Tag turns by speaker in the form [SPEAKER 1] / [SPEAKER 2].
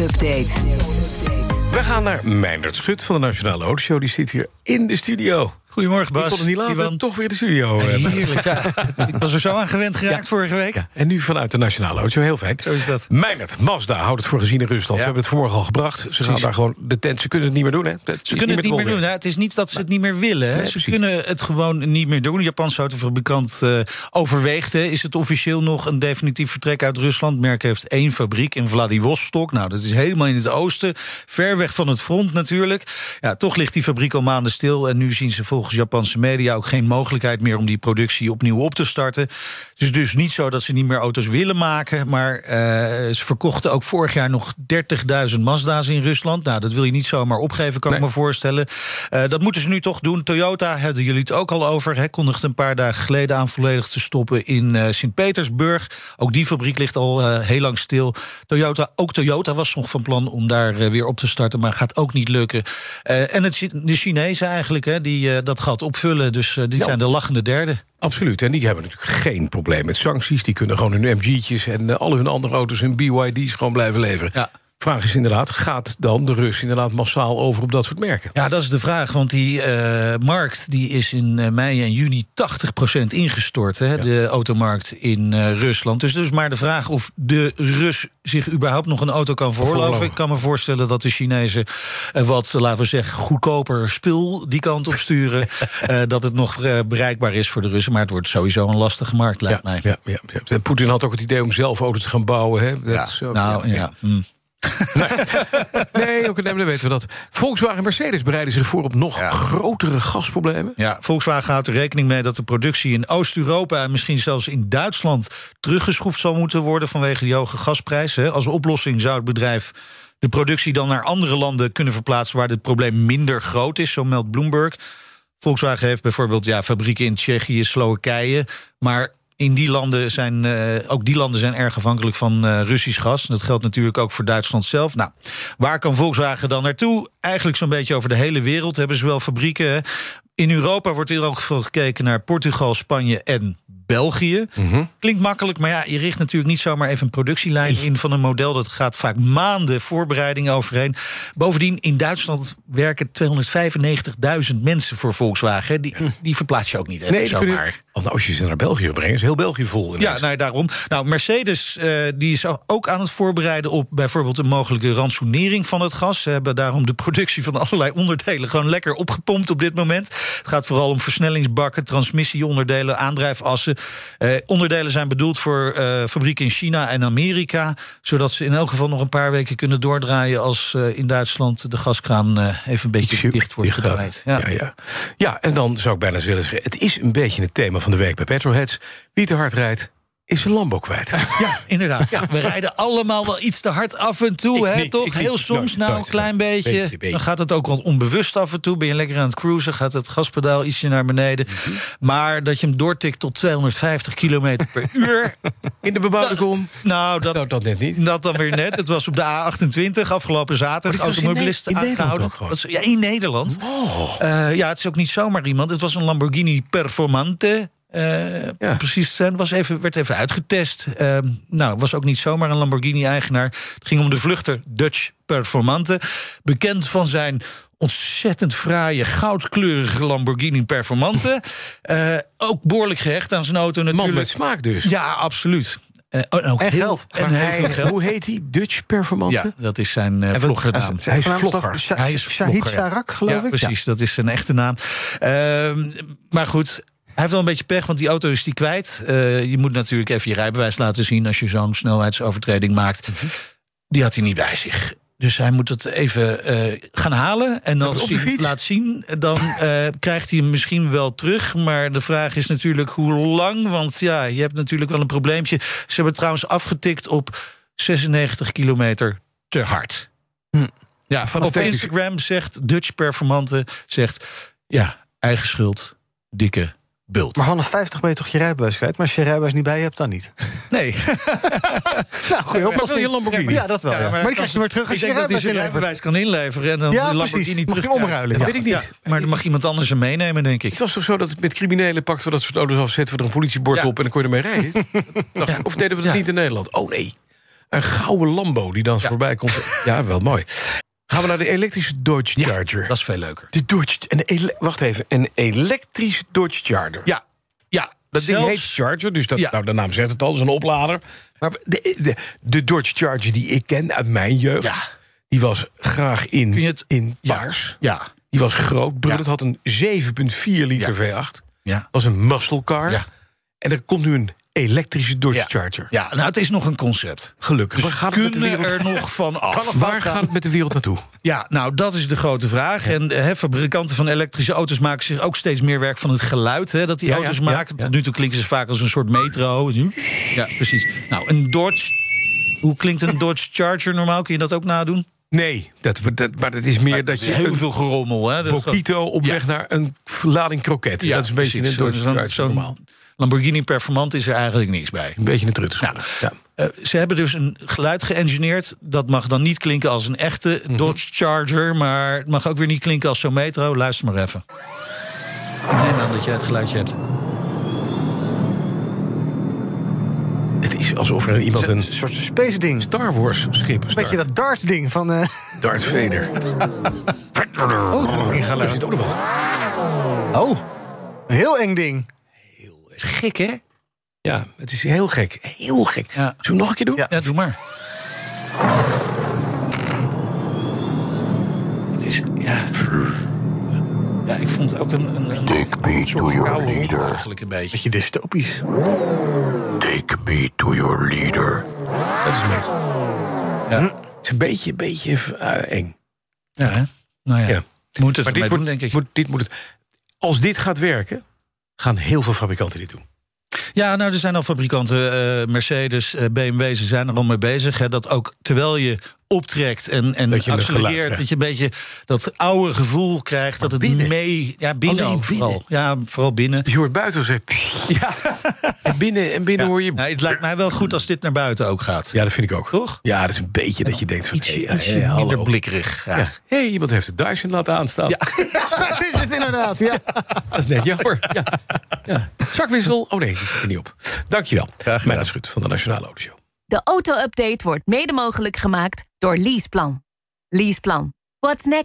[SPEAKER 1] update.
[SPEAKER 2] We gaan naar Meindert Schut van de Nationale Autoshow. Die zit hier in de studio.
[SPEAKER 3] Goedemorgen, Bas.
[SPEAKER 2] Ik kon het niet laten,
[SPEAKER 3] Iwan.
[SPEAKER 2] toch weer de studio. eh,
[SPEAKER 3] Heerlijk, ja. Ik was er zo aan gewend geraakt
[SPEAKER 2] Ja.
[SPEAKER 3] vorige week.
[SPEAKER 2] Ja, en nu vanuit de Nationale Auto. Heel fijn.
[SPEAKER 3] Zo is dat.
[SPEAKER 2] Meijnerd, Mazda houdt het voor gezien in Rusland. Ze hebben het vanmorgen al gebracht. Ze gaan daar gewoon de tent. Ze kunnen het niet meer doen, hè?
[SPEAKER 3] Ze kunnen het niet meer doen. hè. het is niet dat ze het niet meer willen. hè.
[SPEAKER 2] Nee,
[SPEAKER 3] ze
[SPEAKER 2] precies.
[SPEAKER 3] kunnen het gewoon niet meer doen. De Japanse autofabrikant eh, overweegt. hè, Is het officieel nog een definitief vertrek uit Rusland? Het merk heeft één fabriek in Vladivostok. Nou, dat is helemaal in het oosten. Ver weg van het front natuurlijk. Ja, toch ligt die fabriek al maanden stil. En nu zien ze volgens Japanse media ook geen mogelijkheid meer om die productie opnieuw op te starten. Het is dus niet zo dat ze niet meer auto's willen maken. Maar eh, ze verkochten ook vorig jaar nog 30.000 Mazda's in Rusland. Nou, dat wil je niet zomaar opgeven, kan ik
[SPEAKER 2] Nee.
[SPEAKER 3] me voorstellen. Eh, dat moeten ze nu toch doen. Toyota hebben jullie het ook al over. Hè, kondigde een paar dagen geleden aan volledig te stoppen in eh, Sint-Petersburg. Ook die fabriek ligt al eh, heel lang stil. Toyota, ook Toyota was nog van plan om daar eh, weer op te starten, maar gaat ook niet lukken. Eh, en het, Chi- de Chinezen eigenlijk, hè, die eh, dat gat opvullen. Dus eh, die
[SPEAKER 2] Ja.
[SPEAKER 3] zijn de lachende derde.
[SPEAKER 2] Absoluut. En die hebben natuurlijk geen probleem met sancties. Die kunnen gewoon hun MG'tjes en eh, alle hun andere auto's hun BYD's gewoon blijven leveren.
[SPEAKER 3] Ja.
[SPEAKER 2] Vraag is inderdaad, gaat dan de Rus inderdaad massaal over op dat soort merken?
[SPEAKER 3] Ja, dat is de vraag. Want die eh, markt die is in eh, mei en juni 80% ingestort. Hè, De automarkt in eh, Rusland. Dus dus maar de vraag of de Rus zich überhaupt nog een auto kan veroorloven.
[SPEAKER 2] Veroorloven.
[SPEAKER 3] Ik kan me voorstellen dat de Chinezen eh, wat, laten we zeggen, goedkoper spul die kant op sturen. eh, dat het nog eh, bereikbaar is voor de Russen. Maar het wordt sowieso een lastige markt, lijkt mij.
[SPEAKER 2] ja, ja, ja. Poetin had ook het idee om zelf auto's te gaan bouwen. Hè? Dat is ook-
[SPEAKER 3] nou ja. mm.
[SPEAKER 2] Nee, ook, nee, maar dan weten we dat. Volkswagen en Mercedes bereiden zich voor op nog grotere gasproblemen.
[SPEAKER 3] Ja, Volkswagen houdt er rekening mee dat de productie in Oost-Europa en misschien zelfs in Duitsland teruggeschroefd zal moeten worden vanwege die hoge gasprijzen. Als oplossing zou het bedrijf de productie dan naar andere landen kunnen verplaatsen waar dit probleem minder groot is, zo meldt Bloomberg. Volkswagen heeft bijvoorbeeld ja, fabrieken in Tsjechië, Slowakije, maar. In die landen zijn, eh, ook die landen zijn erg afhankelijk van eh, Russisch gas. En dat geldt natuurlijk ook voor Duitsland zelf. Nou, waar kan Volkswagen dan naartoe? Eigenlijk zo'n beetje over de hele wereld hebben ze wel fabrieken. hè. In Europa wordt in elk geval gekeken naar Portugal, Spanje en België.
[SPEAKER 2] Mhm.
[SPEAKER 3] Klinkt makkelijk, maar ja, je richt natuurlijk niet zomaar even een productielijn in van een model. Dat gaat vaak maanden voorbereiding overheen. Bovendien, in Duitsland werken 295.000 mensen voor Volkswagen. hè. Die, die verplaats je ook niet even
[SPEAKER 2] Nee, die kunnen-
[SPEAKER 3] zomaar.
[SPEAKER 2] Oh, nou, als je ze naar België brengt, is heel België vol.
[SPEAKER 3] Ja,
[SPEAKER 2] ineens.
[SPEAKER 3] nou ja, daarom. Nou, Mercedes eh, die is ook aan het voorbereiden op bijvoorbeeld een mogelijke ransonering van het gas. Ze hebben daarom de productie van allerlei onderdelen gewoon lekker opgepompt op dit moment. Het gaat vooral om versnellingsbakken, transmissieonderdelen, aandrijfassen. Eh, onderdelen zijn bedoeld voor eh, fabrieken in China en Amerika, zodat ze in elk geval nog een paar weken kunnen doordraaien als eh, in Duitsland de gaskraan eh, even een beetje
[SPEAKER 2] Super
[SPEAKER 3] dicht wordt
[SPEAKER 2] dicht dat.
[SPEAKER 3] gedraaid.
[SPEAKER 2] Ja. Ja, ja. en dan zou ik bijna willen zeggen... het is een beetje het thema van de week bij Petrolheads. Wie te hard rijdt, is zijn Lambo kwijt.
[SPEAKER 3] Ja, inderdaad. we rijden allemaal wel iets te hard af en toe,
[SPEAKER 2] Ik
[SPEAKER 3] hè,
[SPEAKER 2] niet, ik
[SPEAKER 3] toch?
[SPEAKER 2] niet.
[SPEAKER 3] Heel soms,
[SPEAKER 2] Nooit,
[SPEAKER 3] nou,
[SPEAKER 2] nooit,
[SPEAKER 3] een klein
[SPEAKER 2] nooit.
[SPEAKER 3] beetje.
[SPEAKER 2] Beetje, beetje.
[SPEAKER 3] Dan gaat het ook wel onbewust af en toe. Ben je lekker aan het cruisen, gaat het gaspedaal ietsje naar beneden.
[SPEAKER 2] Mhm.
[SPEAKER 3] Maar dat je hem doortikt tot 250 kilometer per uur...
[SPEAKER 2] In de bebouwde
[SPEAKER 3] Nou,
[SPEAKER 2] kom.
[SPEAKER 3] Nou, dat,
[SPEAKER 2] Nou, dat net niet.
[SPEAKER 3] dat dan weer net. Het was op de A28 afgelopen zaterdag.
[SPEAKER 2] Oh, dit was in
[SPEAKER 3] automobilisten
[SPEAKER 2] Ne- in Nederland
[SPEAKER 3] aangehouden.
[SPEAKER 2] ook gewoon?
[SPEAKER 3] Dat is- ja, in Nederland. Eh, ja, het is ook niet zomaar iemand. Het was een Lamborghini Performante. eh,
[SPEAKER 2] Ja.
[SPEAKER 3] Precies, te zijn. was even, werd even uitgetest. Eh, nou, was ook niet zomaar een Lamborghini-eigenaar. Het ging om de vluchter Dutch Performante. Bekend van zijn ontzettend fraaie, goudkleurige Lamborghini Performante. Eh, ook behoorlijk gehecht aan zijn auto natuurlijk.
[SPEAKER 2] Man met smaak dus.
[SPEAKER 3] Ja, absoluut. Eh, en ook
[SPEAKER 4] En
[SPEAKER 3] heel-
[SPEAKER 4] geld.
[SPEAKER 3] En
[SPEAKER 2] Maar
[SPEAKER 3] heel
[SPEAKER 2] hij-
[SPEAKER 3] veel geld.
[SPEAKER 2] Hoe heet die? Dutch Performante?
[SPEAKER 3] Ja, dat is zijn eh
[SPEAKER 2] wat-
[SPEAKER 3] vloggernaam.
[SPEAKER 2] Hij is vlogger.
[SPEAKER 3] Hij is
[SPEAKER 4] Shahid
[SPEAKER 3] vlogger, ja.
[SPEAKER 4] Sarak, geloof
[SPEAKER 3] ja,
[SPEAKER 4] ik. Ja.
[SPEAKER 3] precies. Dat is zijn echte naam. Ehm, maar goed, hij heeft wel een beetje pech, want die auto is die kwijt. Eh, je moet natuurlijk even je rijbewijs laten zien als je zo'n snelheidsovertreding maakt. Die had hij niet bij zich. Dus hij moet het even eh, gaan halen. En als
[SPEAKER 2] Op de
[SPEAKER 3] hij het
[SPEAKER 2] fiets?
[SPEAKER 3] laat zien, dan eh, krijgt hij hem misschien wel terug. Maar de vraag is natuurlijk hoe lang. Want ja, je hebt natuurlijk wel een probleempje. Ze hebben trouwens afgetikt op 96 kilometer te hard. Ja,
[SPEAKER 2] Van
[SPEAKER 3] op
[SPEAKER 2] de technisch-
[SPEAKER 3] Instagram zegt Dutch Performante... zegt, ja, eigen schuld, dikke bult.
[SPEAKER 4] Maar vanaf 50 ben je toch je rijbewijs kwijt? Maar als je je rijbewijs niet bij je hebt, dan niet.
[SPEAKER 3] nee.
[SPEAKER 4] Nou, goeie
[SPEAKER 2] Maar wil je
[SPEAKER 4] oplossing.
[SPEAKER 2] een Lamborghini?
[SPEAKER 4] Ja, dat wel. Ja, Maar, die krijg je weer terug als
[SPEAKER 3] Ik
[SPEAKER 4] je je
[SPEAKER 3] denk dat hij
[SPEAKER 4] rijbewijs
[SPEAKER 3] zijn
[SPEAKER 4] wil hebben.
[SPEAKER 3] rijbewijs kan inleveren... en dan
[SPEAKER 4] Ja,
[SPEAKER 3] de
[SPEAKER 4] precies.
[SPEAKER 3] Lamborghini
[SPEAKER 4] Mag je
[SPEAKER 3] terug
[SPEAKER 4] hem omruilen?
[SPEAKER 2] Dat
[SPEAKER 4] Ja.
[SPEAKER 2] weet ik niet.
[SPEAKER 3] Maar dan mag iemand anders hem meenemen, denk ik.
[SPEAKER 2] Het was toch zo dat het met criminelen pakten we dat soort auto's af... zetten we er een politiebord
[SPEAKER 3] Ja.
[SPEAKER 2] op en dan kon je ermee rijden? Dacht- Of deden we dat
[SPEAKER 3] Ja.
[SPEAKER 2] niet in Nederland? Oh nee. Een gouden Lambo die dan voorbij komt. Ja, wel mooi. Gaan we naar de elektrische Dodge Charger.
[SPEAKER 3] Dat is veel leuker.
[SPEAKER 2] de Dodge, een ele- wacht even, een elektrische Dodge Charger.
[SPEAKER 3] Ja, ja.
[SPEAKER 2] Dat ding
[SPEAKER 3] zelfs-
[SPEAKER 2] heet Charger, dus dat,
[SPEAKER 3] Ja.
[SPEAKER 2] nou, de naam zegt het al, is een oplader. Maar de, de, de Dodge Charger die ik ken uit mijn jeugd,
[SPEAKER 3] Ja.
[SPEAKER 2] die was graag in,
[SPEAKER 3] Vind je het-
[SPEAKER 2] in
[SPEAKER 3] Ja.
[SPEAKER 2] paars.
[SPEAKER 3] Ja,
[SPEAKER 2] Die was groot, brullend,
[SPEAKER 3] Ja.
[SPEAKER 2] had een 7,4 liter V8.
[SPEAKER 3] ja.
[SPEAKER 2] was een muscle car.
[SPEAKER 3] Ja.
[SPEAKER 2] En er komt nu een elektrische Dodge
[SPEAKER 3] ja.
[SPEAKER 2] Charger.
[SPEAKER 3] Ja, nou, het is nog een concept.
[SPEAKER 2] Gelukkig.
[SPEAKER 3] Dus
[SPEAKER 2] Waar gaat het met de
[SPEAKER 3] kunnen
[SPEAKER 2] wereld,
[SPEAKER 3] er nog van af.
[SPEAKER 2] waar gaat het met de wereld naartoe?
[SPEAKER 3] Ja, nou, dat is de grote vraag. En eh, hè, fabrikanten van elektrische auto's maken zich ook steeds meer werk van het geluid hè, dat die
[SPEAKER 2] Ja, ja,
[SPEAKER 3] auto's
[SPEAKER 2] ja,
[SPEAKER 3] maken.
[SPEAKER 2] ja.
[SPEAKER 3] Tot nu toe klinken ze vaak als een soort metro. Ja, precies. Nou, een Dodge. Hoe klinkt een Dodge Charger normaal? Kun je dat ook nadoen?
[SPEAKER 2] Nee, dat, dat, maar het is meer dat je
[SPEAKER 3] Heel
[SPEAKER 2] een
[SPEAKER 3] veel gerommel. Hè? Dat is gewoon-
[SPEAKER 2] Bokito op
[SPEAKER 3] Ja.
[SPEAKER 2] weg naar een lading kroket. dat is een beetje
[SPEAKER 3] precies.
[SPEAKER 2] een Dodge
[SPEAKER 3] Zo'n-
[SPEAKER 2] Charger
[SPEAKER 3] zo'n
[SPEAKER 2] normaal.
[SPEAKER 3] Lamborghini Performant is er eigenlijk niks bij.
[SPEAKER 2] Een beetje een trutus. Ja.
[SPEAKER 3] Eh, ze hebben dus een geluid geëngineerd. Dat mag dan niet klinken als een echte Dodge Charger. Maar het mag ook weer niet klinken als zo'n metro. Luister maar even. Ik neem aan dat jij het geluidje hebt.
[SPEAKER 2] Het is alsof er iemand een
[SPEAKER 4] Een soort space ding.
[SPEAKER 2] Star Wars schip
[SPEAKER 4] Weet je
[SPEAKER 2] start.
[SPEAKER 4] dat darts ding van... eh,
[SPEAKER 2] Darth Vader.
[SPEAKER 4] Oh, dat ging
[SPEAKER 2] Er
[SPEAKER 4] geluid.
[SPEAKER 2] zit ook nog wel.
[SPEAKER 4] Oh, een heel eng ding.
[SPEAKER 3] Het is gek, hè?
[SPEAKER 2] Ja, het is heel gek. Heel gek.
[SPEAKER 3] Ja.
[SPEAKER 2] Zullen we hem nog een keer doen?
[SPEAKER 3] Ja, doe maar. Het is, ja... Ja, ik vond het ook een, een, een
[SPEAKER 1] Take me to your
[SPEAKER 3] koude hond
[SPEAKER 1] leader.
[SPEAKER 3] eigenlijk een beetje.
[SPEAKER 4] Beetje dystopisch.
[SPEAKER 1] Take me to your leader.
[SPEAKER 2] Dat is een beetje, Hm?
[SPEAKER 3] Ja,
[SPEAKER 2] het is een beetje, beetje eh, eng.
[SPEAKER 3] ja hè? Nou ja.
[SPEAKER 2] Ja.
[SPEAKER 3] We moeten
[SPEAKER 2] Maar
[SPEAKER 3] het
[SPEAKER 2] dit
[SPEAKER 3] ermee
[SPEAKER 2] wordt,
[SPEAKER 3] doen, denk ik.
[SPEAKER 2] Moet, dit moet het, als dit gaat werken, gaan heel veel fabrikanten dit doen.
[SPEAKER 3] Ja, nou, er zijn al fabrikanten, eh, Mercedes, eh, BMW, ze zijn er al mee bezig. Hè, dat ook terwijl je optrekt en, en
[SPEAKER 2] Dat je een geluid
[SPEAKER 3] accelereert,
[SPEAKER 2] krijgt.
[SPEAKER 3] dat je een beetje dat oude gevoel krijgt. dat het
[SPEAKER 2] binnen?
[SPEAKER 3] mee... Ja, binnen
[SPEAKER 2] Alleen
[SPEAKER 3] ook vooral.
[SPEAKER 2] binnen?
[SPEAKER 3] Ja, vooral binnen.
[SPEAKER 2] Dus je hoort buiten zegt...
[SPEAKER 3] Ja.
[SPEAKER 2] En binnen, en binnen hoor je...
[SPEAKER 3] Nee, het lijkt mij wel goed als dit naar buiten ook gaat.
[SPEAKER 2] Ja, dat vind ik ook.
[SPEAKER 3] Toch?
[SPEAKER 2] Ja, dat is een beetje dat je denkt van...
[SPEAKER 3] Ietsje,
[SPEAKER 2] hey,
[SPEAKER 3] ietsje
[SPEAKER 2] hey, hallo.
[SPEAKER 3] minder blikkerig. Ja.
[SPEAKER 2] Ja. hey, iemand heeft de Dyson laten aanstaan.
[SPEAKER 4] Dat is het inderdaad, ja.
[SPEAKER 2] Dat is net jammer. Ja. Ja. Zakwissel. Oh nee, die zit er niet op. Dankjewel.
[SPEAKER 3] gedaan.
[SPEAKER 2] Mijn Schut van de Nationale Autoshow.
[SPEAKER 5] De auto-update wordt mede mogelijk gemaakt door Leaseplan. Leaseplan. What's next?